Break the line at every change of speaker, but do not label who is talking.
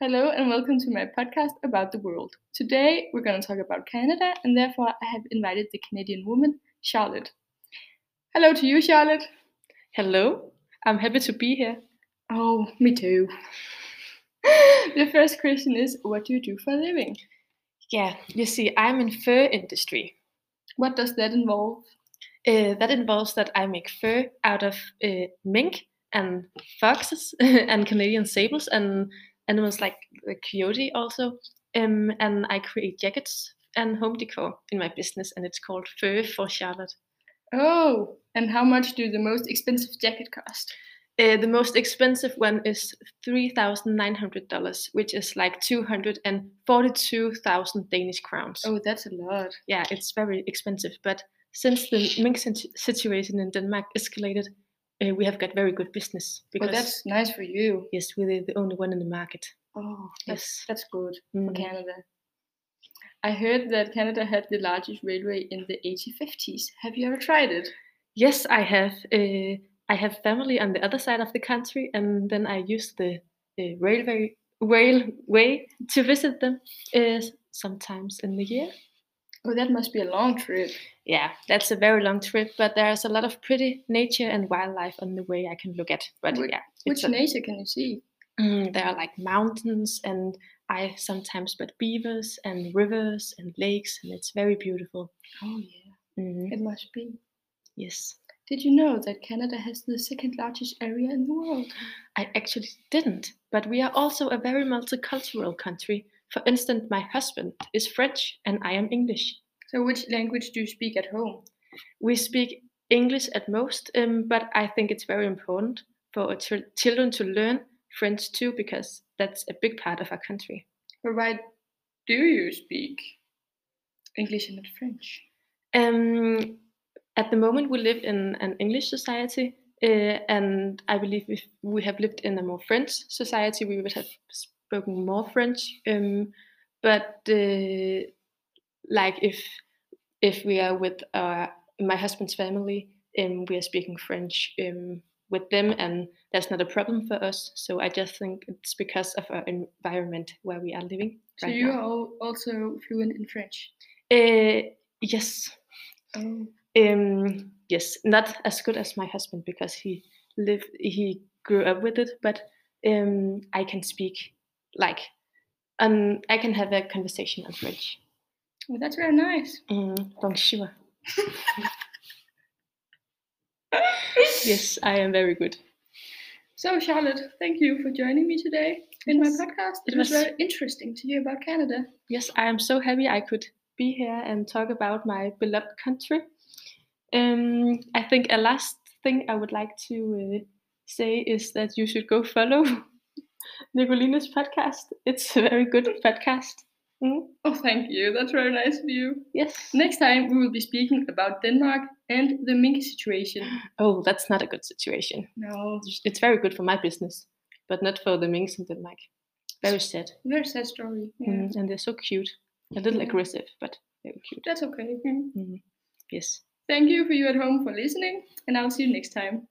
Hello and welcome to my podcast about the world. Today we're going to talk about Canada and therefore I have invited the Canadian woman, Charlotte. Hello to you, Charlotte.
Hello, I'm happy to be here.
Oh, me too. the first question is what do you do for a living?
Yeah, you see, I'm in fur industry.
What does that involve?
Uh, that involves that I make fur out of uh, mink and foxes and Canadian sables and animals like the coyote also. Um, and I create jackets and home decor in my business, and it's called Fur for Charlotte.
Oh, and how much do the most expensive jacket cost?
Uh, the most expensive one is three thousand nine hundred dollars, which is like two hundred and forty-two thousand Danish crowns.
Oh, that's a lot.
Yeah, it's very expensive. But since the mink situ- situation in Denmark escalated, uh, we have got very good business
Well, that's nice for you.
yes, we're the only one in the market.
Oh, that's,
Yes.
that's good. for
Mm.
Canada. I heard that Canada had the largest railway in the 1850s. Have you ever tried it?
Yes, I have. Uh, I have family on the other side of the country, and then I use the uh, railway railway to visit them uh, sometimes in the year.
Oh, that must be a long trip.
Yeah, that's a very long trip, but there's a lot of pretty nature and wildlife on the way I can look at. But
Whi-
yeah,
Which
it's a-
nature can you see?
Mm, there are like mountains, and I sometimes but beavers and rivers and lakes, and it's very beautiful.
Oh, yeah,
Mhm,
it must be.
Yes.
Did you know that Canada has the second largest area in the world?
I actually didn't, but we are also a very multicultural country. For instance, my husband is French and I am English.
So, which language do you speak at home?
We speak English at most, um, but I think it's very important for our chil- children to learn French too, because that's a big part of our country.
Or why do you speak English and not French?
Um, at the moment, we live in an English society, uh, and I believe if we have lived in a more French society, we would have spoken more French. Um, but uh, like if if we are with our, my husband's family, um, we are speaking French um, with them, and that's not a problem for us. So I just think it's because of our environment where we are living
So,
right
you
now.
are al- also fluent in French.
Uh, yes.
Oh,
Um, yes, not as good as my husband because he lived, he grew up with it. But um, I can speak like, um, I can have a conversation in French.
well, that's very nice.
Mm, bonjour. Yes, I am very good.
So, Charlotte, thank you for joining me today in
Yes,
my podcast. It,
it
was
was-
very interesting to hear about Canada.
Yes, I am so happy I could be here and talk about my beloved country. Um, I think a last thing I would like to uh, say is that you should go follow Nicolina's podcast. It's a very good podcast. Mm,
Oh, thank you. That's very nice of you.
Yes.
Next time, we will be speaking about Denmark and the mink situation.
Oh, that's not a good situation.
No,
It's very good for my business, but not for the minks in Denmark. Very sad.
very sad story. Yeah.
Mm, and they're so cute. A little
Yeah.
aggressive, but very cute. Mm,
That's okay.
Yes.
Thank you for you at home for listening, and I'll see you next time.